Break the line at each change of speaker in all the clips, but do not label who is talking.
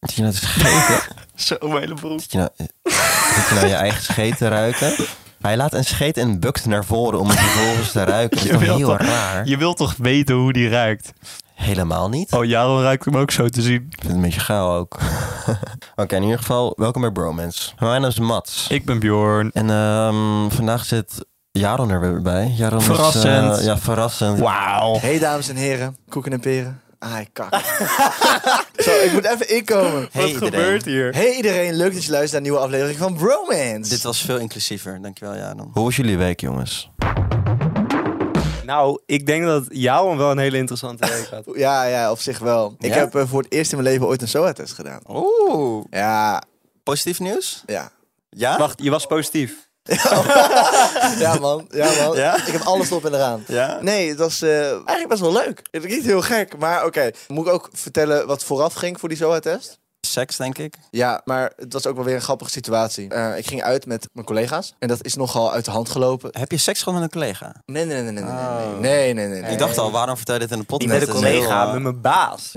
Zit je nou te scheten?
Zo, mijn hele broek.
Zit je nou, zit je nou je eigen scheet te ruiken? Hij laat een scheet en bukt naar voren om het vervolgens te ruiken. Dat is toch heel raar?
je wilt toch weten hoe die ruikt?
Helemaal niet.
Oh, Jaron ruikt hem ook zo te zien.
Ik vind het een beetje gauw ook. Oké, in ieder geval, welkom bij Bromance. Mijn naam is Mats.
Ik ben Bjorn.
En ehm, vandaag zit Jaron er weer bij. Jaron is, eh,
Verrassend.
ja, verrassend.
Wauw.
Hey dames en heren, koeken en peren. Ah, ik kak. Zo, ik moet even inkomen.
Hey,
Wat
iedereen.
gebeurt hier?
Hey iedereen, leuk dat je luistert naar een nieuwe aflevering van Bromance.
Dit was veel inclusiever. Dankjewel, Jaron.
Hoe was jullie week, jongens?
Nou, ik denk dat Jaron wel een hele interessante week had.
Ja, ja, op zich wel. Ik
Ja?
heb eh, voor het eerst in mijn leven ooit een SOA-test gedaan.
Oeh.
Ja,
Positief nieuws?
ja.
Ja? Wacht, je was positief.
Ja man, ja man.
Ja?
Ik heb alles op en eraan.
Ja?
Nee, het was eh, eigenlijk best wel leuk. Het is niet heel gek, maar oké. Moet ik ook vertellen wat vooraf ging voor die SOA-test?
Seks, denk ik.
Ja, maar het was ook wel weer een grappige situatie. Eh, ik ging uit met mijn collega's en dat is nogal uit de hand gelopen.
Heb je seks gehad met een collega?
Nee, nee, nee, nee, nee, nee,
Oh.
nee, nee, nee, nee.
Ik dacht al, waarom vertel je dit in de podcast?
met een
Dat is heel,
collega,
eh,
met mijn baas.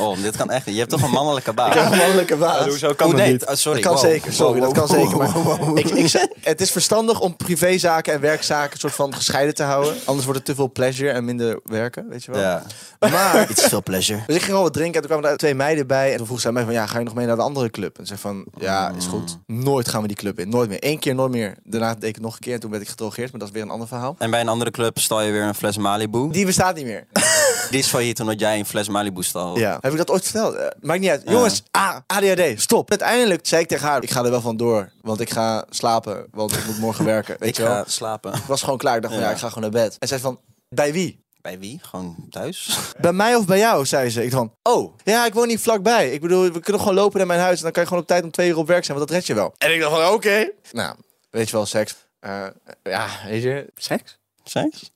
Oh, dit kan echt niet. Je hebt toch een mannelijke
Ik heb
baas?
een mannelijke baas.
Zo kan oh, nee. oh, sorry.
Dat kan
Wow.
zeker, sorry,
Wow,
dat kan
wow,
zeker. Maar
wow, wow, wow.
Ik, ik, zeg- het is verstandig om privézaken en werkzaken soort van gescheiden te houden. Anders wordt het te veel pleasure en minder werken, weet je wel.
Ja.
Maar,
It's veel pleasure.
dus ik ging al wat drinken en toen kwamen er twee meiden bij. En toen vroeg ze aan mij van, ja, ga je nog mee naar de andere club? En ze zei van, ja,
Mm.
is goed. Nooit gaan we die club in, nooit meer. Eén keer, nooit meer. Daarna deed ik het nog een keer en toen werd ik gedrogeerd. Maar dat is weer een ander verhaal.
En bij een andere club stal je weer een fles Malibu.
Die bestaat niet meer.
Die is failliet omdat jij een fles Malibu stal.
Ja. Oh. Heb ik dat ooit verteld? Eh, maakt niet uit. Jongens, ah, ADHD, stop. Uiteindelijk zei ik tegen haar, ik ga er wel van door. Want ik ga slapen, want ik moet morgen werken. Weet
Ik
je wel?
ga slapen.
Ik was gewoon klaar. Ik dacht van,
Ja.
ja. ik ga gewoon naar bed. En zei van, bij wie?
Bij wie? Gewoon thuis?
Bij mij of bij jou, zei ze. Ik dacht van, oh, ja, ik woon niet vlakbij. Ik bedoel, we kunnen gewoon lopen naar mijn huis... en dan kan je gewoon op tijd om twee uur op werk zijn, want dat red je wel. En ik dacht van, oké. Nou, weet je wel, seks. Eh, ja, weet je.
Seks? Seks?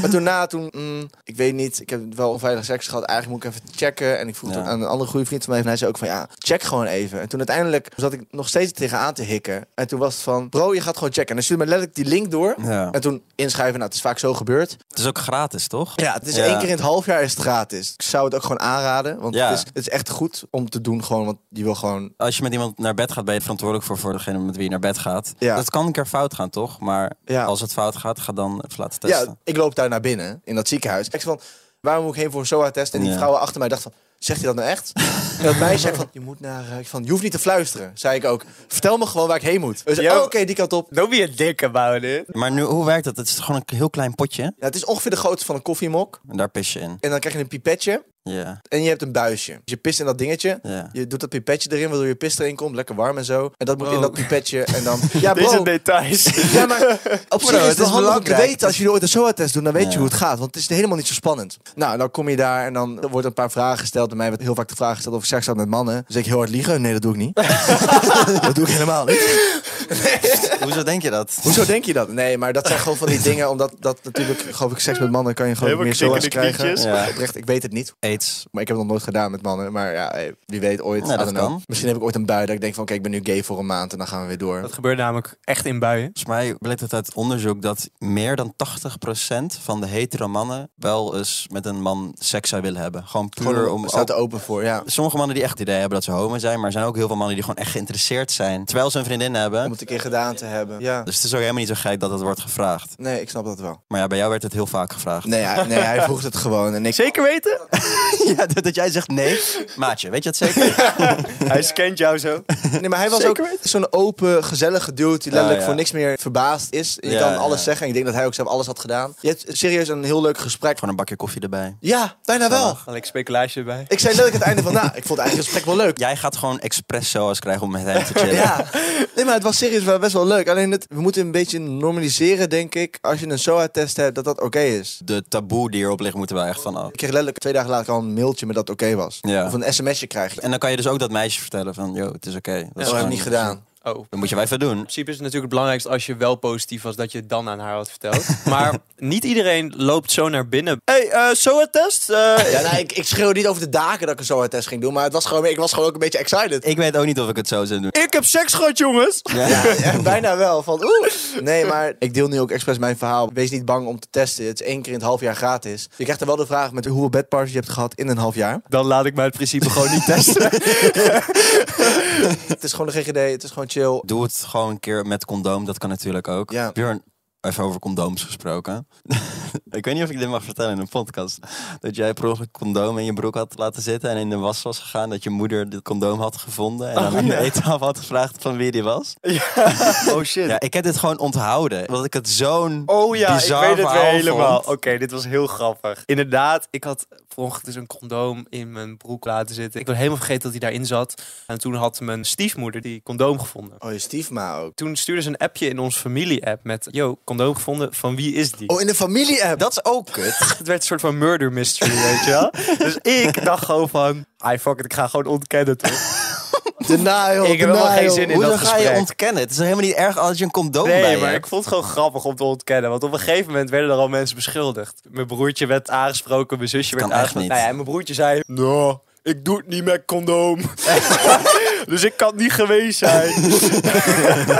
Maar toen na, toen, mm, ik weet niet, ik heb wel onveilig seks gehad. Eigenlijk moet ik even checken. En ik vroeg
Ja.
toen aan een andere goede vriend van mij. En hij zei ook van, ja, check gewoon even. En toen uiteindelijk zat ik nog steeds tegenaan te hikken. En toen was het van, bro, je gaat gewoon checken. En dan stuurde me letterlijk die link door.
Ja.
En toen inschrijven, nou, het is vaak zo gebeurd.
Het is ook gratis, toch?
Ja, het is
Ja.
één keer in het half jaar is het gratis. Ik zou het ook gewoon aanraden, want
Ja.
het, is, het is echt goed om te doen gewoon, want je wil gewoon...
Als je met iemand naar bed gaat, ben je verantwoordelijk voor, voor degene met wie je naar bed gaat.
Ja.
Dat kan een keer fout gaan, toch? Maar
Ja.
als het fout gaat, ga dan even laten
Ja,
testen.
ik loop daar naar binnen, in dat ziekenhuis. Ik zei van, waarom moet ik heen voor een SOA-test? En die
Ja.
vrouwen achter mij dachten van, zegt hij dat nou echt? en dat meisje zei van, je moet naar... eh, van, je hoeft niet te fluisteren, zei ik ook. Vertel me gewoon waar ik heen moet. Dus,
Yo.
oh, oké, die kant op.
Don't be a dick about it.
Maar nu, hoe werkt dat? Het is gewoon een heel klein potje.
Ja, het is ongeveer de grootte van een koffiemok.
En daar pis je in.
En dan krijg je een pipetje
Ja.
en je hebt een buisje. Dus je pist in dat dingetje.
Ja.
Je doet dat pipetje erin, waardoor je pis erin komt. Lekker warm en zo. En dat moet in dat pipetje. En dan... Ja, bro.
Deze details.
Ja, maar op zich
het
is het wel
is
handig om te
belangrijk.
weten als jullie ooit een SOA-test doen, dan weet
Ja.
je hoe het gaat. Want het is helemaal niet zo spannend. Nou, dan kom je daar en dan wordt een paar vragen gesteld. En mij werd heel vaak de vraag gesteld of ik seks had met mannen. Dus ik heel hard liegen. Nee, dat doe ik niet. dat doe ik helemaal niet.
Hoezo denk je dat?
Hoezo denk je dat? Nee, maar dat zijn gewoon van die dingen. Omdat dat natuurlijk, geloof ik, seks met mannen kan je gewoon
Helemaal
meer SOA's
knikkende
krijgen.
knietjes. Ja.
Oprecht, ik weet het niet.
AIDS.
Maar ik heb het nog nooit gedaan met mannen. Maar ja, hey, wie weet ooit.
Nee, dat
I don't know.
kan.
Misschien heb ik ooit een bui dat ik denk van, oké, ik ben nu gay voor een maand en dan gaan we weer door.
Dat gebeurt namelijk echt in buien.
Volgens mij bleek het uit onderzoek dat meer dan 80% van de hetero mannen wel eens met een man seks zou willen hebben. Gewoon puur
Gewoon
om...
om, staat er open voor, ja.
Sommige mannen die echt het idee hebben dat ze homo zijn, maar er zijn ook heel veel mannen die gewoon echt geïnteresseerd zijn. Terwijl ze een vriendin hebben.
Om het een keer gedaan te hebben. Ja.
Dus het is ook helemaal niet zo gek dat het wordt gevraagd.
Nee, ik snap dat wel.
Maar ja, bij jou werd het heel vaak gevraagd.
Nee, hij, nee, hij vroeg het gewoon. En ik,
Zeker weten?
ja, dat dat jij zegt nee. Maatje, weet je dat zeker?
Hij scant jou zo.
nee, maar hij was
Zeker
ook zo'n open, gezellige dude die letterlijk
ja.
voor niks meer verbaasd is. Je
Ja,
kan alles
ja.
zeggen. En ik denk dat hij ook zelf alles had gedaan. Je hebt serieus een heel leuk gesprek.
Gewoon een bakje koffie erbij.
Ja, bijna wel.
Had ik speculaasje erbij.
Ik zei letterlijk aan het einde van, nou, ik vond het eigen gesprek wel leuk.
Jij gaat gewoon expres zoals krijgen om met hem te chillen.
Ja, nee, maar het was serieus wel best wel leuk. Alleen het, we moeten een beetje normaliseren, denk ik, als je een SOA-test hebt, dat dat oké is.
De taboe die erop ligt, moeten wij echt van af.
Ik kreeg letterlijk twee dagen later al een mailtje met dat oké was.
Ja.
Of een sms'je krijg je.
En dan kan je dus ook dat meisje vertellen van, yo, het is oké.
Dat
is
heb ik
gewoon-
niet gedaan.
Oh. In
Dan moet je wij even doen.
principe is het natuurlijk het belangrijkste als je wel positief was, dat je het dan aan haar had verteld. maar niet iedereen loopt zo naar binnen. hey, eh SOA-test? Eh,
Ja, nou, ik, ik schreeuw niet over de daken dat ik een SOA-test ging doen, maar het was gewoon, ik was gewoon ook een beetje excited.
Ik weet ook niet of ik het zo zou doen.
ik heb seks gehad, jongens!
Ja, ja, bijna wel. Van, oeh. Nee, maar ik deel nu ook expres mijn verhaal. Wees niet bang om te testen. Het is één keer in het half jaar gratis. Je krijgt er wel de vraag met hoeveel bedparties je hebt gehad in een half jaar.
Dan laat ik mij het principe gewoon niet testen.
Het is gewoon de GGD, het is gewoon chill.
Doe het gewoon een keer met condoom, dat kan natuurlijk ook.
Ja.
Björn, even over condooms gesproken. ik weet niet of ik dit mag vertellen in een podcast. Dat jij per ongeluk condoom in je broek had laten zitten en in de was was gegaan. Dat je moeder dit condoom had gevonden en dan aan de eettafel had gevraagd van wie die was.
Oh shit.
Ja, ik heb dit gewoon onthouden. Want ik het zo'n
Oh ja,
bizar
ik weet het weer
verhaal
helemaal.
vond.
Oké, dit was heel grappig. Inderdaad, ik had vanochtend dus een condoom in mijn broek laten zitten. Ik was helemaal vergeten dat hij daarin zat. En toen had mijn stiefmoeder die condoom gevonden.
Oh, je stiefma ook.
Toen stuurde ze een appje in onze familie-app met... Yo, condoom gevonden, van wie is die?
Oh, in de familie-app.
Dat is ook kut. Het werd een soort van murder mystery, weet je wel? Dus ik dacht gewoon van... I fuck it, ik ga gewoon ontkennen toch?
Denial,
Ik heb helemaal
denial.
geen zin in
Hoe
dat
dan ga je
gesprek.
ontkennen? Het is helemaal niet erg als je een condoom bij
Nee,
je
maar
hebt.
ik vond het gewoon grappig om te ontkennen. Want op een gegeven moment werden er al mensen beschuldigd. Mijn broertje werd aangesproken, mijn zusje werd
kan echt
aangesproken.
niet.
Nou ja, en mijn broertje zei... Nou, ik doe het niet met condoom. dus ik kan niet geweest zijn.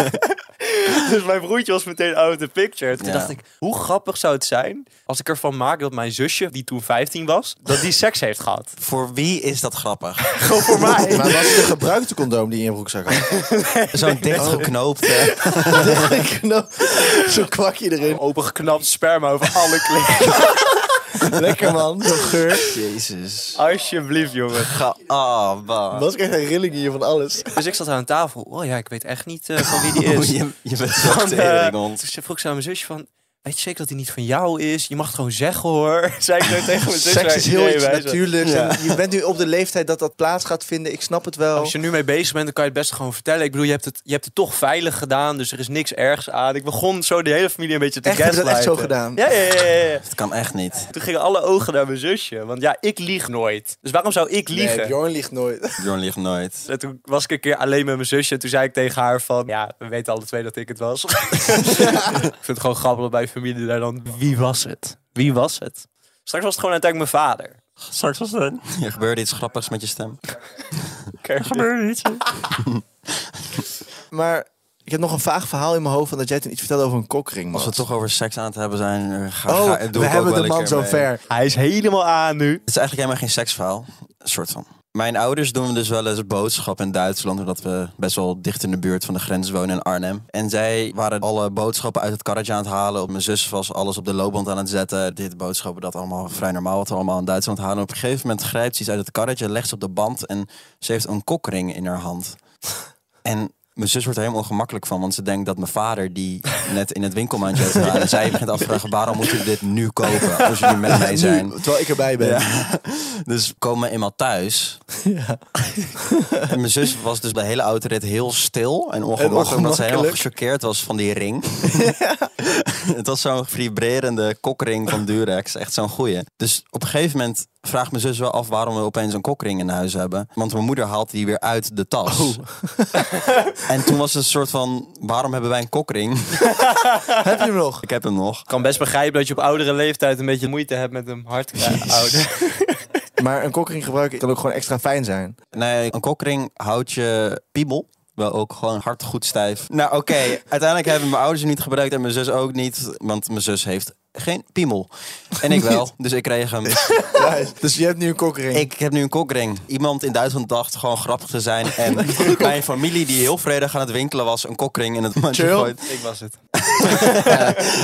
dus mijn broertje was meteen out of the picture. Toen
Ja.
dacht ik, hoe grappig zou het zijn... als ik ervan maak dat mijn zusje, die toen 15 was... dat die seks heeft gehad.
Voor wie is dat grappig?
Gewoon voor mij.
Maar was het een gebruikte condoom die je in je broekzak had?
Zo'n dichtgeknoopte...
Nou, Zo'n kwakje erin.
Opengeknapt sperma over alle kleren.
Lekker man, zo'n geur.
Jezus.
Alsjeblieft, jongen.
Ga... Ah, bah.
Was ik echt een rilling hier van alles.
Dus ik zat aan tafel. Oh ja, ik weet echt niet eh, van wie die
Oh,
is.
je, je bent zo'n
Van,
tering,
eh,
hond.
Toen vroeg ze aan mijn zusje van... Weet je zeker dat hij niet van jou is? Je mag het gewoon zeggen hoor. Zei ik nou tegen mijn zus.
Seks
maar
is heel
nee,
iets
wij zo-
natuurlijks.
Ja.
En je bent nu op de leeftijd dat dat plaats gaat vinden. Ik snap het wel.
Als je nu mee bezig bent, dan kan je het best gewoon vertellen. Ik bedoel, je hebt het, je hebt het toch veilig gedaan. Dus er is niks ergs aan. Ik begon zo de hele familie een beetje te
Echt, heb je dat echt zo
gaslighten.
gedaan?
Ja, ja, ja, ja, ja.
Het kan echt niet.
Toen gingen alle ogen naar mijn zusje. Want ja, ik lieg nooit. Dus waarom zou ik liegen?
Nee, Bjorn liegt nooit.
Bjorn ligt nooit.
En toen was ik een keer alleen met mijn zusje. En toen zei ik tegen haar van... Ja, we weten alle twee dat ik het was. ik vind het gewoon grappig dat bij familie daar dan... Wie was het? Wie was het? Straks was het gewoon uiteindelijk mijn vader.
Straks was het.
Er gebeurde iets grappigs met je stem.
Gebeurde iets.
Maar ik heb nog een vaag verhaal in mijn hoofd van dat jij toen iets vertelde over een kokring.
Als we
Mats.
het toch over seks aan het hebben zijn, eh, ga,
Oh,
ga- doe ik
we
ook
hebben
wel
de
een
man
keer
zo
mee.
ver.
Hij is helemaal aan nu.
Het is eigenlijk helemaal geen seksverhaal. Een soort van. Mijn ouders doen dus wel eens boodschap in Duitsland, omdat we best wel dicht in de buurt van de grens wonen in Arnhem. En zij waren alle boodschappen uit het karretje aan het halen. Op mijn zus was alles op de loopband aan het zetten. Dit boodschappen, dat allemaal vrij normaal, wat we allemaal in Duitsland halen. En op een gegeven moment grijpt ze iets uit het karretje, legt ze op de band en ze heeft een kokring in haar hand. En mijn zus wordt er helemaal ongemakkelijk van, want ze denkt dat mijn vader die net in het winkelmandje had gedaan. En zij begint af te vragen, waarom moet je dit nu kopen als jullie met mij zijn?
Nu, terwijl ik erbij ben.
Ja. Dus we komen eenmaal thuis. En mijn zus was dus de hele autorit heel stil en ongemakkelijk. omdat ze helemaal
ongemakkelijk.
gechoqueerd was van die ring. Het was zo'n vibrerende kokring van Durex. Echt zo'n goeie. Dus op een gegeven moment vraagt mijn zus wel af waarom we opeens een kokring in huis hebben. Want mijn moeder haalt die weer uit de tas. en toen was het een soort van, waarom hebben wij een kokring?
Heb je hem nog?
Ik heb hem nog.
Ik kan best begrijpen dat je op oudere leeftijd een beetje moeite hebt met een hart ouder.
Maar een kokring gebruiken kan ook gewoon extra fijn zijn.
Nee, een kokring houdt je piebel. Wel ook gewoon hard goed stijf. Nou oké, uiteindelijk hebben mijn ouders hem niet gebruikt en mijn zus ook niet. Want mijn zus heeft geen piemel. En ik wel, dus ik kreeg hem.
Nice. Dus je hebt nu een kokring.
Ik heb nu een kokring. Iemand in Duitsland dacht gewoon grappig te zijn. En mijn familie die heel vredig aan het winkelen was, een kokring in het mandje
Chill.
gooit.
Ik was het.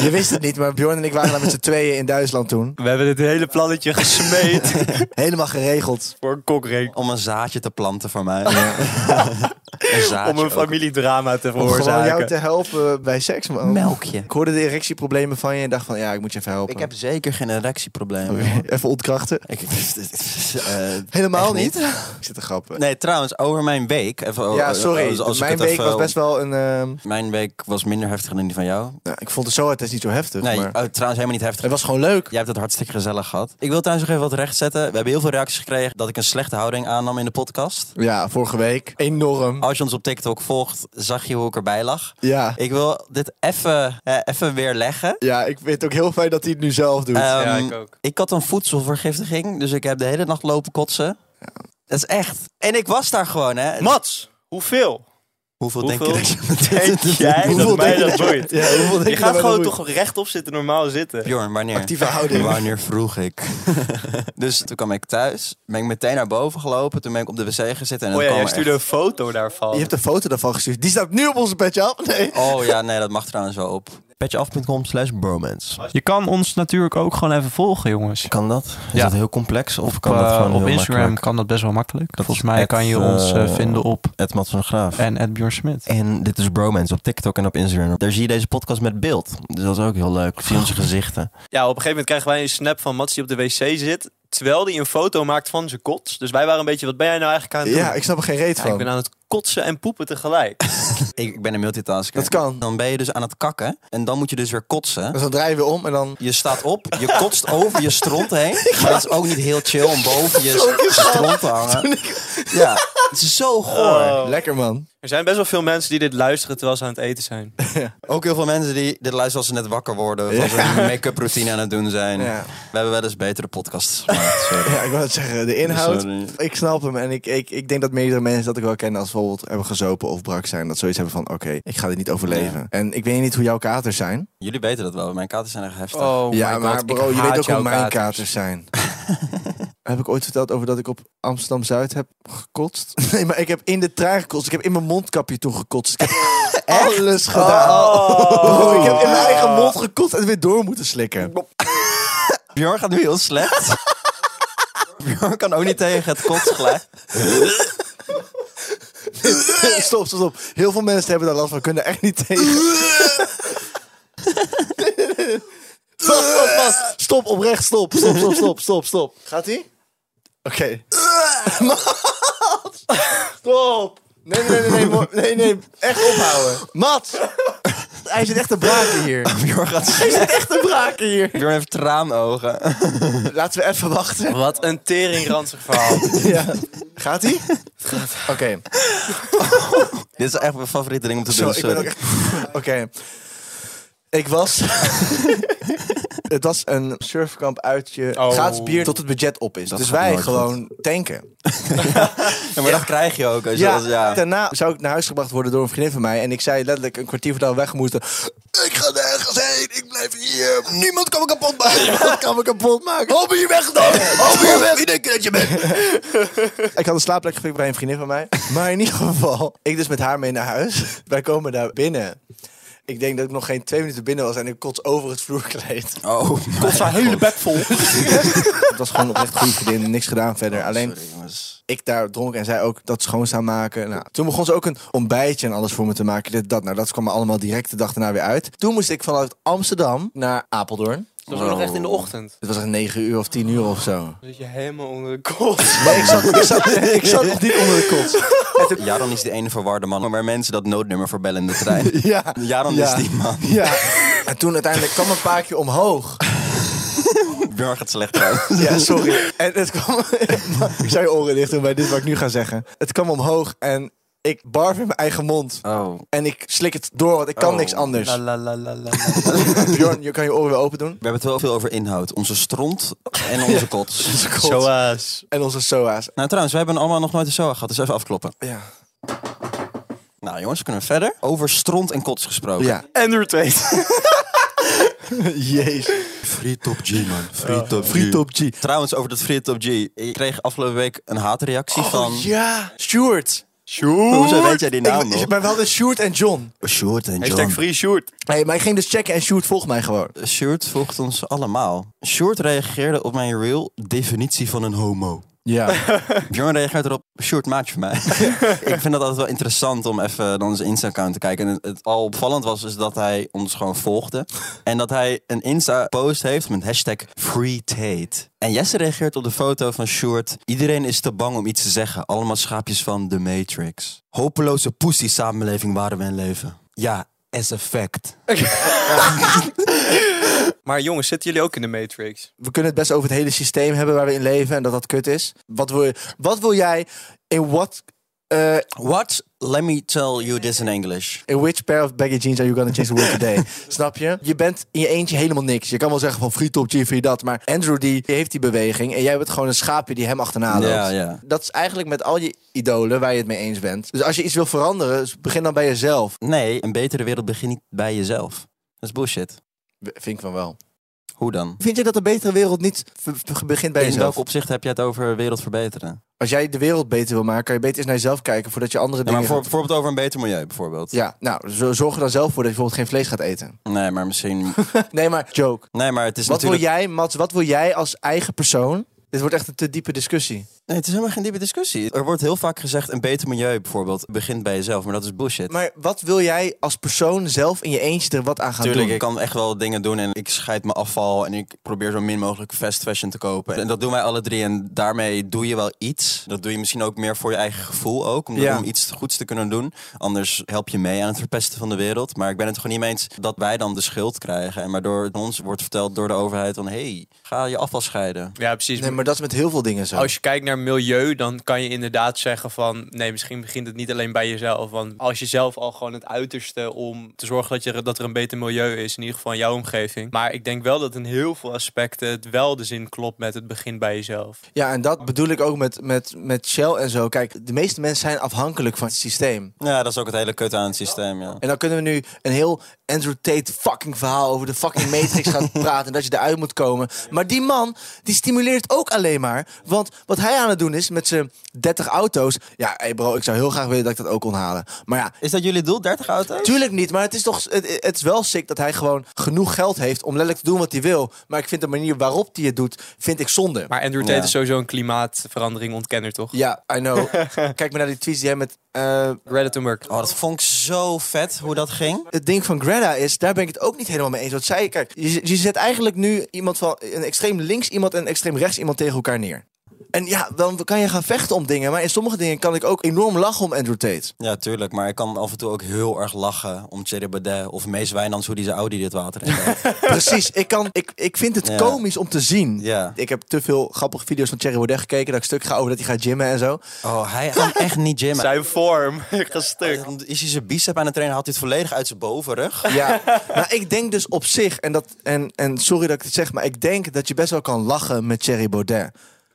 Je wist het niet, maar Bjorn en ik waren daar met z'n tweeën in Duitsland toen.
We hebben dit hele plannetje gesmeed
Helemaal geregeld.
voor een kokring.
Om een zaadje te planten voor mij. een zaadje.
Om een
ook.
familiedrama te
Om gewoon jou te
veroorzaken.
helpen bij seks, man.
Melkje.
Ik hoorde de erectieproblemen van je en dacht van, ja, ik moet je even helpen.
Ik heb zeker geen erectieproblemen.
Even ontkrachten.
Ik, eh,
Helemaal
echt
niet? Ik zit te grappen.
Nee, trouwens, over mijn week.
Oh,
Even,
eh,
ja,
als-
sorry.
als, ik
Mijn
het
week
even-
was best wel een... ehm,
Mijn week was minder heftig dan die van jou.
nou, ik vond de SOA-test niet zo heftig,
Nee,
eh,
maar...
oh, trouwens, helemaal niet heftig.
Het was gewoon leuk.
Jij hebt het hartstikke gezellig gehad. Ik wil trouwens nog even wat rechtzetten. We hebben heel veel reacties gekregen dat ik een slechte houding aannam in de podcast.
Ja, vorige week. Enorm.
Als je ons op TikTok volgt, zag je hoe ik erbij lag.
Ja.
Ik wil dit even eh, even weer leggen.
ja, ik vind het ook heel fijn dat hij het nu zelf doet.
Ja,
Ehm,
ik ook.
Ik had een voedselvergiftiging, dus ik heb de hele nacht lopen kotsen. Dat is echt. En ik was daar gewoon, hè.
Mats, hoeveel?
hoeveel,
hoeveel
denk je dat je
Denk jij
Hoeveel
dat mij
denk
dat boeit?
ja, hoeveel denk
Je
dat
gaat
wij
gewoon
dat
toch rechtop zitten, normaal zitten.
Bjorn, wanneer?
Actieve houding.
Wanneer vroeg ik? dus toen kwam ik thuis, ben ik meteen naar boven gelopen. Toen ben ik op de wc gezeten en dan
Oh ja,
kwam
jij
er
stuurde een foto daarvan.
Je hebt een foto daarvan gestuurd. Die staat nu op onze petje af. Nee.
echt- Oh ja, nee, dat mag trouwens wel op.
Petjeaf.com slash bromance.
Je kan ons natuurlijk ook gewoon even volgen, jongens.
Kan dat? Is
Ja.
dat heel complex? Of kan
op,
dat
eh,
gewoon
op
heel
Instagram
makkelijk?
kan dat best wel makkelijk.
Dat
Volgens
is
mij
at,
kan je ons eh,
eh,
vinden op
Ed Mats van Graaf.
en at Bjorn Smit.
En dit is Bromance op TikTok en op Instagram. Daar zie je deze podcast met beeld. Dus dat is ook heel leuk. Zie onze gezichten.
Ja, op een gegeven moment krijgen wij een snap van Mats die op de wc zit. Terwijl hij een foto maakt van zijn kots. Dus wij waren een beetje, wat ben jij nou eigenlijk aan het doen?
Ja, ik snap er geen reet
Ja,
van.
ik ben aan het kotsen en poepen tegelijk.
Ik, ik ben een multitasker.
Dat kan.
Dan ben je dus aan het kakken en dan moet je dus weer kotsen.
Dus dan draaien we om en dan...
Je staat op, je kotst over je stront heen. Maar dat is ook niet heel chill om boven je stront te hangen. Ja, het is
Eh.
zo goor.
Oh.
Lekker, man.
Er zijn best wel veel mensen die dit luisteren terwijl ze aan het eten zijn.
Ook heel veel mensen die dit luisteren als ze net wakker worden. Of als ze een make-up routine aan het doen zijn.
Ja.
We hebben wel eens betere podcasts. gemaakt, sorry.
Ja, ik wil het zeggen, de inhoud.
Sorry.
Ik snap hem en ik, ik, ik denk dat meerdere mensen dat ik wel ken als bijvoorbeeld hebben gezopen of brak zijn. Dat zoiets hebben van, oké, ik ga dit niet overleven.
Ja.
En ik weet niet hoe jouw katers zijn.
Jullie weten dat wel, want mijn katers zijn echt heftig.
Oh
ja,
my
maar
god, ik
bro, je
haat
weet ook hoe
jouw
mijn
kater.
katers zijn. heb ik ooit verteld over dat ik op Amsterdam-Zuid heb gekotst? Nee, maar ik heb in de trein gekotst. Ik heb in mijn mondkapje toen gekotst. Ik heb alles gedaan.
Oh.
Bro, ik heb in mijn eigen mond gekotst en weer door moeten slikken.
Bjorn gaat nu heel slecht. Bjorn kan ook niet tegen het kotsgeluid.
stop, stop, stop. Heel veel mensen hebben daar last van, kunnen echt niet tegen. stop, stop, vast. Stop, oprecht, stop. Stop, stop, stop, stop, stop. Gaat ie? Oké. Mats, stop. Nee, nee, nee, nee, mo- nee, nee, echt ophouden. Mats, hij zit echt te braken hier.
Bjorn gaat
Hij zit echt te braken hier.
Bjorn heeft traanogen.
Laten we even wachten.
Wat een teringranzig verhaal.
Ja. Gaat ie? Oké.
Dit is echt mijn favoriete ding om te
Zo,
doen.
ik ben ook
Sorry.
echt... Oké. Ik was... het was een surfkamp uitje.
Oh.
Gratis bier tot het budget op is. dus
gaat
wij
nooit
gewoon tanken.
Ja, maar dat krijg je ook. Als je
Ja,
dat- ja.
daarna zou ik naar huis gebracht worden door een vriendin van mij. En ik zei letterlijk een kwartier voordat we weg moesten... Ik ga nergens heen, ik blijf hier. Niemand kan me kapot maken. Niemand kan me kapot maken. Hop hier weg dan. Hop hier weg. Wie denk je dat je bent? ik had een slaapplek gevonden bij een vriendin van mij. Maar in ieder geval, ik dus met haar mee naar huis. Wij komen daar binnen. Ik denk dat ik nog geen twee minuten binnen was en ik kots over het vloerkleed.
Oh,
Zijn hele bek vol.
het was gewoon oprecht goed vriendin, niks gedaan verder. Alleen
sorry, jongens.
ik daar dronk en zij ook dat schoonstaan maken. Nou, toen begon ze ook een ontbijtje en alles voor me te maken. Dit, dat, nou, dat kwam me allemaal direct de dag daarna weer uit. Toen moest ik vanuit Amsterdam naar Apeldoorn.
Dat was nog echt in de ochtend.
Het was echt 9 uur of 10 uur of zo.
Dan zit je helemaal onder de kot.
Nee, ik zat, ik zat, ik zat nog niet onder de kots.
Jaron is de ene verwarde man waar mensen dat noodnummer voor bellen in de trein.
Ja.
Jaron
Ja.
is die man.
Ja. En toen uiteindelijk kwam een paakje omhoog.
Bjorn gaat slecht trouwens.
Ja, sorry. En het kwam... ik zou je oren dicht doen bij dit wat ik nu ga zeggen. Het kwam omhoog en ik barf in mijn eigen mond.
Oh.
En ik slik het door, want ik kan niks anders.
La la la la la.
Bjorn, je kan je oren weer open doen.
We hebben het wel veel over inhoud. Onze stront en onze kots.
Zoals.
En onze SOA's.
Nou trouwens, we hebben allemaal nog nooit een SOA gehad, dus even afkloppen.
Ja.
Nou jongens, kunnen we verder? Over stront en kots gesproken.
Ja.
Entertainment.
Jezus.
Free top G man, Oh. free top G.
Free top G.
Trouwens, over dat free top G. Ik kreeg afgelopen week een haatreactie van...
Oh, ja. Stuart.
Hoezo weet jij die
Ik,
naam nog?
maar we hadden Stuart en John.
Short en
Hashtag free shoot.
Nee, maar ik ging dus checken en Stuart volgt mij gewoon.
Short volgt ons allemaal. Short reageerde op mijn reel definitie van een homo.
Ja.
Bjorn reageert erop, short maatje van mij. ik vind dat altijd wel interessant om even dan zijn Insta-account te kijken. En het, het al opvallend was is dat hij ons gewoon volgde. En dat hij een Insta-post heeft met hashtag FreeTate. En Jesse reageert op de foto van Short. Iedereen is te bang om iets te zeggen. Allemaal schaapjes van The Matrix. Hopeloze poesie samenleving waren we in leven. Ja, as a fact.
Maar jongens, zitten jullie ook in de Matrix?
We kunnen het best over het hele systeem hebben waar we in leven en dat dat kut is. Wat wil, je- wat wil jij in wat eh,
What? Let me tell you this in English.
in which pair of baggy jeans are you gonna change the world today? Snap je? Je bent in je eentje helemaal niks. Je kan wel zeggen van friet op Jiffy dat, maar Andrew die heeft die beweging en jij bent gewoon een schaapje die hem achterna loopt.
Ja, ja.
Dat is eigenlijk met al je idolen waar je het mee eens bent. Dus als je iets wil veranderen, dus begin dan bij jezelf.
Nee, een betere wereld begint niet bij jezelf. Dat is bullshit.
Vind ik van wel.
Hoe dan?
Vind je dat de betere wereld niet v- v- begint bij
in
jezelf?
welk opzicht heb jij het over wereld verbeteren?
Als jij de wereld beter wil maken, kan je beter eens naar jezelf kijken voordat je andere
Ja,
dingen...
maar voor, bijvoorbeeld over een beter milieu, bijvoorbeeld.
Ja, nou, zo- zorg er dan zelf voor dat je bijvoorbeeld geen vlees gaat eten.
Nee, maar misschien...
Nee, maar joke.
Nee, maar het is
Wat
natuurlijk...
wil jij, Mats, wat wil jij als eigen persoon? Dit wordt echt een te diepe discussie.
Nee, het is helemaal geen diepe discussie. Er wordt heel vaak gezegd, een beter milieu bijvoorbeeld begint bij jezelf. Maar dat is bullshit.
Maar wat wil jij als persoon zelf in je eentje er wat aan gaan
Natuurlijk, ik
doen?
kan echt wel dingen doen en ik scheid mijn afval en ik probeer zo min mogelijk fast fashion te kopen. En dat doen wij alle drie en daarmee doe je wel iets. Dat doe je misschien ook meer voor je eigen gevoel ook, om,
Ja.
om iets goeds te kunnen doen. Anders help je mee aan het verpesten van de wereld. Maar ik ben het gewoon niet mee eens dat wij dan de schuld krijgen en waardoor ons wordt verteld door de overheid van hey, ga je afval scheiden.
Ja, precies.
Nee, maar dat is met heel veel dingen zo.
Als je kijkt naar milieu, dan kan je inderdaad zeggen van... nee, misschien begint het niet alleen bij jezelf. Want als je zelf al gewoon het uiterste om te zorgen dat, je, dat er een beter milieu is... in ieder geval in jouw omgeving. Maar ik denk wel dat in heel veel aspecten het wel de zin klopt met het begin bij jezelf.
Ja, en dat bedoel ik ook met, met, met Shell en zo. Kijk, de meeste mensen zijn afhankelijk van het systeem.
Ja, dat is ook het hele kut aan het systeem, ja.
En dan kunnen we nu een heel Andrew Tate fucking verhaal over de fucking Matrix gaan praten. En dat je eruit moet komen. Maar die man, die stimuleert ook alleen maar. Want wat hij aan het doen is met zijn 30 auto's. Ja, hey bro, ik zou heel graag willen dat ik dat ook kon halen. Maar ja,
Is dat jullie doel, 30 auto's?
Tuurlijk niet, maar het is toch het, het is wel sick dat hij gewoon genoeg geld heeft om letterlijk te doen wat hij wil. Maar ik vind de manier waarop hij het doet, vind ik zonde.
Maar Andrew Tate
Ja.
is sowieso een klimaatverandering ontkenner, toch?
ja, I know. Kijk maar naar die tweets die hij met eh,
Reddit en Merk.
Oh, dat vond ik zo vet hoe dat ging.
het ding van Greta is, daar ben ik het ook niet helemaal mee eens. Want zij, kijk, je, je zet eigenlijk nu iemand van een extreem links iemand en een extreem rechts iemand tegen elkaar neer. En ja, dan kan je gaan vechten om dingen. Maar in sommige dingen kan ik ook enorm lachen om Andrew Tate.
Ja, tuurlijk. Maar ik kan af en toe ook heel erg lachen om Thierry Baudet of Mees Wijnands hoe die zijn Audi dit water in gooit.
Precies, ik, kan, ik, ik vind het
Ja.
komisch om te zien.
Ja.
Ik heb te veel grappige video's van Thierry Baudet gekeken. Dat ik stuk ga over dat hij gaat gymmen en zo.
Oh, hij gaat echt niet gymmen.
Zijn vorm, gestuk.
Is hij zijn bicep aan het trainen? Haalt hij het volledig uit zijn bovenrug?
Ja, maar ik denk dus op zich, en, dat, en, en sorry dat ik het zeg, maar ik denk dat je best wel kan lachen met Thierry Baudet.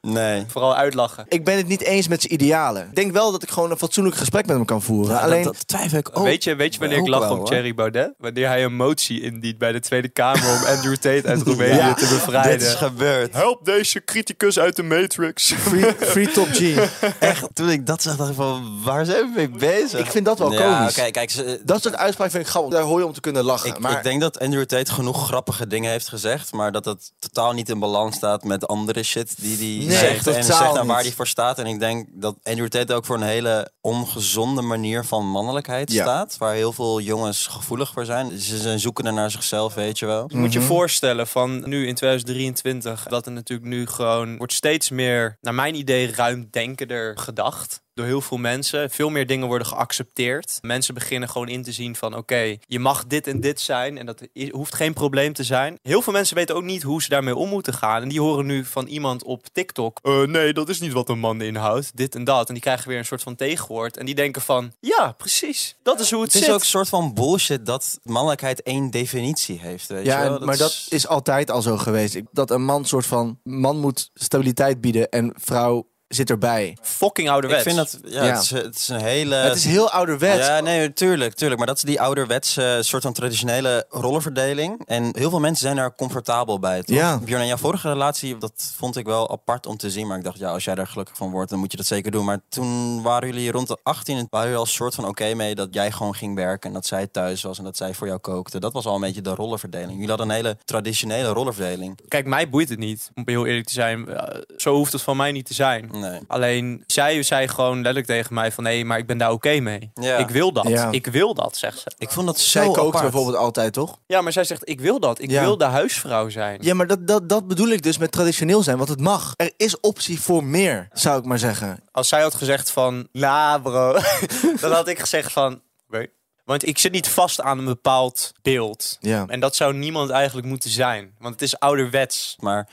Nee.
Vooral uitlachen.
Ik ben het niet eens met zijn idealen. Ik denk wel dat ik gewoon een fatsoenlijk gesprek met hem kan voeren. Alleen,
Alleen... Dat, dat twijfel ik ook.
weet, je, weet je wanneer
ook
ik lach
Oh, wel,
om
hoor.
Thierry Baudet? Wanneer hij een motie indient bij de Tweede Kamer om Andrew Tate uit Roemenië
Ja,
te bevrijden.
Dit is gebeurd.
Help deze criticus uit de Matrix.
free, free top G.
Echt, toen ik dat zag, dacht ik van, waar zijn we mee bezig?
Ik vind dat wel
ja,
komisch.
Kijk, kijk, ze-
Dat soort uitspraken vind ik grappig. Daar hoor je om te kunnen lachen.
ik,
maar
ik denk dat Andrew Tate genoeg grappige dingen heeft gezegd, maar dat dat totaal niet in balans staat met andere shit die hij
Nee,
zegt en
totaal
zegt aan waar
niet.
hij voor staat. En ik denk dat Andrew Tate ook voor een hele ongezonde manier van mannelijkheid
Ja.
staat, waar heel veel jongens gevoelig voor zijn. Ze zijn zoekende naar zichzelf, weet je wel.
Je moet je voorstellen van nu in 2023 dat er natuurlijk nu gewoon wordt steeds meer, naar mijn idee, ruimdenkender gedacht. Door heel veel mensen. Veel meer dingen worden geaccepteerd. Mensen beginnen gewoon in te zien van oké, je mag dit en dit zijn. En dat i- hoeft geen probleem te zijn. Heel veel mensen weten ook niet hoe ze daarmee om moeten gaan. En die horen nu van iemand op TikTok. "Eh, nee, dat is niet wat een man inhoudt. Dit en dat. En die krijgen weer een soort van tegenwoord. En die denken van ja, precies. Dat is hoe het,
Het is
zit.
ook een soort van bullshit dat mannelijkheid één definitie heeft, weet
Ja,
je
en-
dus wel.
maar dat is altijd al zo geweest. Ik- Dat een man soort van man moet stabiliteit bieden en vrouw zit erbij.
fucking
Ik
ouderwets.
vind dat... Ja,
Ja.
Het, is, het is een hele...
het is heel ouderwets.
Eh, Ja, nee, tuurlijk, tuurlijk. Maar dat is die ouderwetse soort van traditionele rollenverdeling. En heel veel mensen zijn daar comfortabel bij. Toch?
Ja.
Björn, en jouw vorige relatie, dat vond ik wel apart om te zien. Maar ik dacht, ja, als jij daar gelukkig van wordt, dan moet je dat zeker doen. Maar toen waren jullie rond de 18 en waren jullie al soort van oké mee dat jij gewoon ging werken. En dat zij thuis was en dat zij voor jou kookte. Dat was al een beetje de rollenverdeling. Jullie hadden een hele traditionele rollenverdeling.
Kijk, mij boeit het niet. Om heel eerlijk te zijn, eh, zo hoeft het van mij niet te zijn.
Nee.
Alleen zij zei gewoon letterlijk tegen mij van nee, maar ik ben daar oké mee.
Ja.
Ik wil dat.
Ja.
Ik wil dat, zegt ze.
Ik vond dat zo
Zij kookt
apart.
bijvoorbeeld altijd, toch?
Ja, maar zij zegt ik wil dat. Ik
Ja.
wil de huisvrouw zijn.
Ja, maar dat, dat, dat bedoel ik dus met traditioneel zijn, want het mag. Er is optie voor meer, zou ik maar zeggen.
Als zij had gezegd van la bro, dan had ik gezegd van oké. Want ik zit niet vast aan een bepaald beeld.
Ja.
En dat zou niemand eigenlijk moeten zijn. Want het is ouderwets.
Maar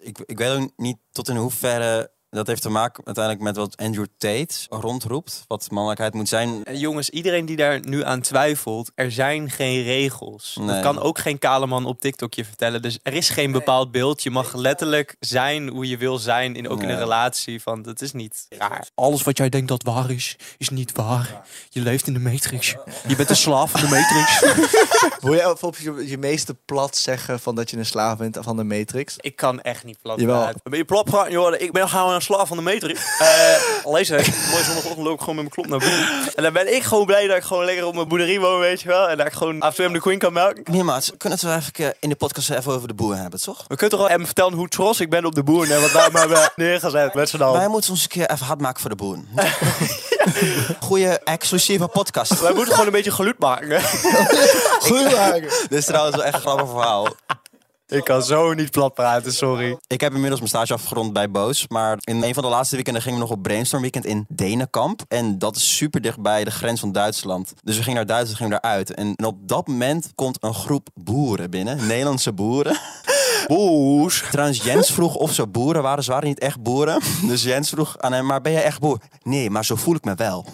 ik, ik weet ook niet tot in hoeverre Dat heeft te maken uiteindelijk met wat Andrew Tate rondroept. Wat mannelijkheid moet zijn.
En jongens, iedereen die daar nu aan twijfelt, er zijn geen regels. Dat
Nee.
kan ook geen kale man op TikTok je vertellen. Dus er is geen bepaald beeld. Je mag letterlijk zijn hoe je wil zijn, in, ook in een
Nee.
relatie. Van, dat is niet raar.
Alles wat jij denkt dat waar is, is niet waar. Je leeft in de Matrix. Je bent een slaaf van de Matrix.
Wil jij op je, je meeste plat zeggen van dat je een slaaf bent van de Matrix?
Ik kan echt niet plat
Jawel.
praten. Ben je plat praten, joh? Ik ben gewoon een slaaf van de meter. Eh alleen zeg, mooi zondagochtend loop ik gewoon met mijn klop naar boven. En dan ben ik gewoon blij dat ik gewoon lekker op mijn boerderie woon, weet je wel. En dat ik gewoon af en toe hem de queen kan melken.
Nee, maat, kunnen we het eigenlijk eh, in de podcast even over de boeren hebben, toch?
We kunnen toch wel even vertellen hoe trots ik ben op de boeren en wat wij maar hebben neergezet met z'n
Oh.
allen.
Wij moeten ons een keer even hard maken voor de boeren. Goeie exclusieve podcast.
Wij moeten gewoon een beetje geluid maken.
Goed maken.
Dit is trouwens wel echt een grappig verhaal.
Ik kan zo niet plat praten, sorry.
Ik heb inmiddels mijn stage afgerond bij Boos. Maar in een van de laatste weekenden gingen we nog op brainstorm weekend in Denenkamp. En dat is super dichtbij de grens van Duitsland. Dus we gingen naar Duitsland, gingen daaruit. En, en op dat moment komt een groep boeren binnen. Nederlandse boeren. Boos. Trouwens, Jens vroeg of ze boeren waren. Ze waren niet echt boeren. Dus Jens vroeg aan hem, maar ben jij echt boer? Nee, maar zo voel ik me wel.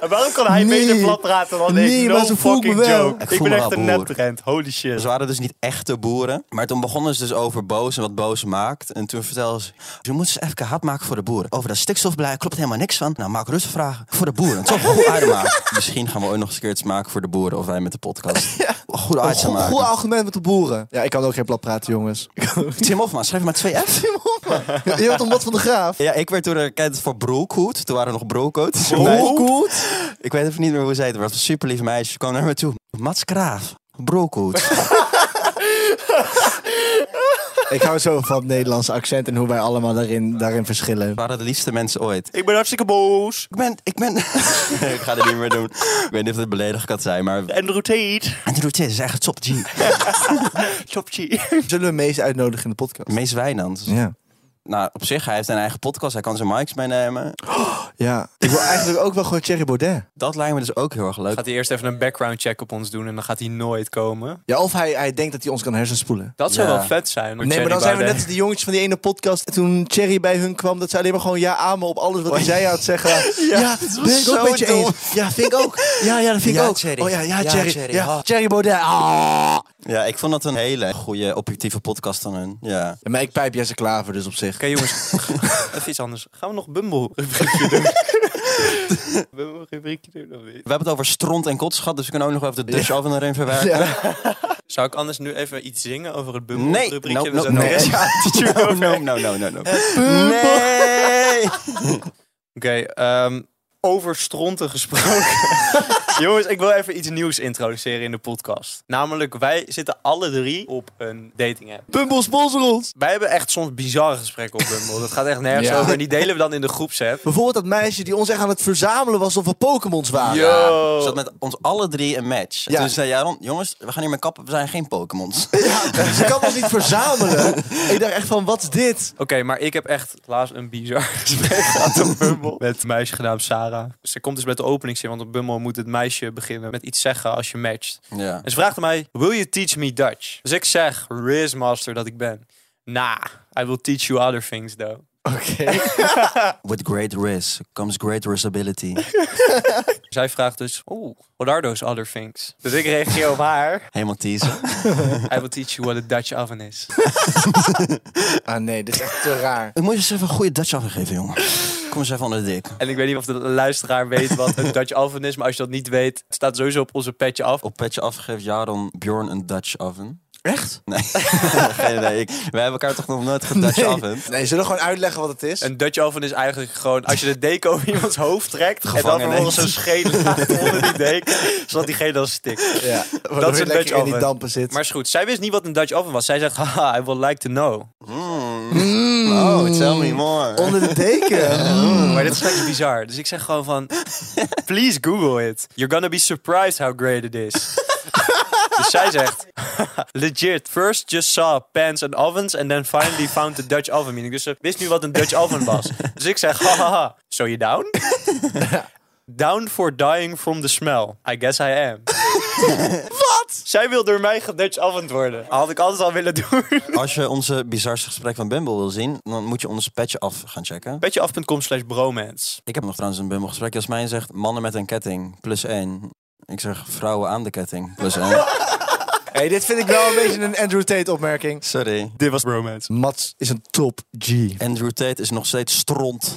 En waarom kan hij
Nee.
beter plat praten dan ik?
Nee,
no
maar zo voel ik me
fucking
wel.
joke.
Ik
Ik,
voel
ben
me
echt
wel
een
boer.
nettrend. Holy shit.
Ze waren dus niet echte boeren. Maar toen begonnen ze dus over Boos en wat Boos maakt. En toen vertelden ze, ze moeten ze even hard maken voor de boeren. Over dat stikstofbeleid klopt helemaal niks van. Nou, maak rustig vragen voor de boeren. Toch goed uitmaken. Misschien gaan we ooit nog eens een keer iets maken voor de boeren. Of wij met de podcast. Goed
Een
uit
goed,
maken.
goed argument met de boeren. Ja, ik kan ook geen plat praten, jongens.
Tim Hofman, schrijf maar twee F.
Je had een wat van de graaf.
Ja, ik werd toen eh, erkend voor broekhoed. Toen waren we nog broekhoed. Ik weet even niet meer hoe zij het was. Een super lief meisje. Ze kwam naar me toe. Mats Kraaf, broekhoed.
Ik hou zo van het Nederlands accent en hoe wij allemaal daarin, daarin verschillen.
waren de liefste mensen ooit.
Ik ben hartstikke boos.
Ik ben, ik ben... ik ga dit niet meer doen. Ik weet niet of het beledigend kan zijn, maar...
Andrew Tate.
Andrew Tate is echt top G.
Chop
Zullen we Mees uitnodigen in de podcast?
Mees Wijnand.
Ja.
Nou, op zich, hij heeft een eigen podcast. Hij kan zijn mics meenemen.
Ja. Ik wil eigenlijk ook wel gewoon Thierry Baudet.
Dat lijkt me dus ook heel erg leuk.
Gaat hij eerst even een background check op ons doen en dan gaat hij nooit komen.
Ja, of hij, hij denkt dat hij ons kan hersenspoelen.
Dat zou
Ja.
wel vet zijn.
Nee, maar dan zijn we net als die jongens van die ene podcast. En Toen Thierry bij hun kwam, dat ze alleen maar gewoon ja amen op alles wat hij zei aan het zeggen. Oh, Ja, ben ik ook
zo
met je
dom.
eens. Ja, vind ik ook. Ja, ja, dat vind
Ja,
ik ook.
Thierry.
Oh ja, ja,
Ja,
Thierry. Oh.
Thierry.
Ja,
Ah.
Thierry Baudet. Ah.
Ja, ik vond dat een hele goede, objectieve podcast van hun. Ja.
Ja, maar ik pijp Jesse Klaver dus op zich.
Oké jongens, even iets anders. Gaan we nog Bumble rubriekje doen? Bumble rubriekje doen of niet?
We hebben het over stront en kots gehad, dus we kunnen ook nog even de Dutch oven erin verwerken.
Ja.
Zou ik anders nu even iets zingen over het Bumble
Nee,
rubriekje?
no,
Dan
no,
zetten we
no.
de rest-
no, no, no, no, no, no. Nee!
Oké, ehm, over stronten gesproken. Jongens, ik wil even iets nieuws introduceren in de podcast. Namelijk, wij zitten alle drie op een dating app.
Pumble sponsor ons.
Wij hebben echt soms bizarre gesprekken op Bumble. Dat gaat echt nergens
Ja.
over. En die delen we dan in de groepsapp.
Bijvoorbeeld dat meisje die ons echt aan het verzamelen was of we Pokémons waren.
Yo.
Ze had met ons alle drie een match. En
Ja.
Toen zei Jaron, jongens, we gaan hier met kappen, we zijn geen Pokémons.
Ze kan ons niet verzamelen. ik dacht echt van, wat is dit?
Oké, maar ik heb echt laatst een bizar gesprek gehad op Bumble. Met een meisje genaamd Sarah. Ze komt dus met de openingszin, want op Bumble moet het meisje beginnen met iets zeggen als je matcht.
Ja.
En ze vraagt aan mij, will you teach me Dutch? Dus ik zeg, Rizmaster dat ik ben. Nah, I will teach you other things though.
Oké.
With great risk comes great responsibility.
Zij vraagt dus, oh, what are those other things? Dus ik reageer op haar,
Helemaal teasen.
I will teach you what a Dutch oven is.
Ah nee, dit is echt te raar.
Ik moet je eens even een goede Dutch afgeven, jongen. Kom eens even onder de dik.
En ik weet niet of de luisteraar weet wat een Dutch oven is, maar als je dat niet weet, het staat sowieso op onze petje af.
Op petje afgeeft Jaron Bjorn een Dutch oven.
Echt?
Nee, nee, nee. Ik, wij hebben elkaar toch nog nooit gedutch
Nee.
oven.
Nee, zullen we gewoon uitleggen wat het is?
Een Dutch oven is eigenlijk gewoon als je de deken over iemands hoofd trekt. en dan
Gevangen
vervolgens
neemt.
een schedel laat onder die deken. zodat diegene dan stikt.
Ja,
is
dat
een
is
Dutch
lekker in die
oven.
dampen zit.
Maar is goed, zij wist niet wat een Dutch oven was. Zij zegt, haha, I would like to know.
Oh, tell me more.
Onder de deken.
Oh, Maar dit is echt bizar. Dus ik zeg gewoon van, please Google it. You're gonna be surprised how great it is. dus zij zegt, legit, first just saw pans and ovens and then finally found the Dutch oven. Meaning, dus ze wist nu wat een Dutch oven was. Dus ik zeg, haha, so you down? Down for dying from the smell. I guess I am. Wat? Wat? Zij wil door mij gedutch avond worden. Had ik alles al willen doen.
Als je onze bizarste gesprek van Bumble wil zien, dan moet je ons petje af gaan checken.
Petjeaf.com slash bromance.
Ik heb nog trouwens een Bumble gesprek. Jasmijn zegt mannen met een ketting, plus één. Ik zeg vrouwen aan de ketting, plus één.
Hey, dit vind ik wel een beetje een Andrew Tate opmerking.
Sorry.
Dit was bromance.
Mats is een top G.
Andrew Tate is nog steeds stront.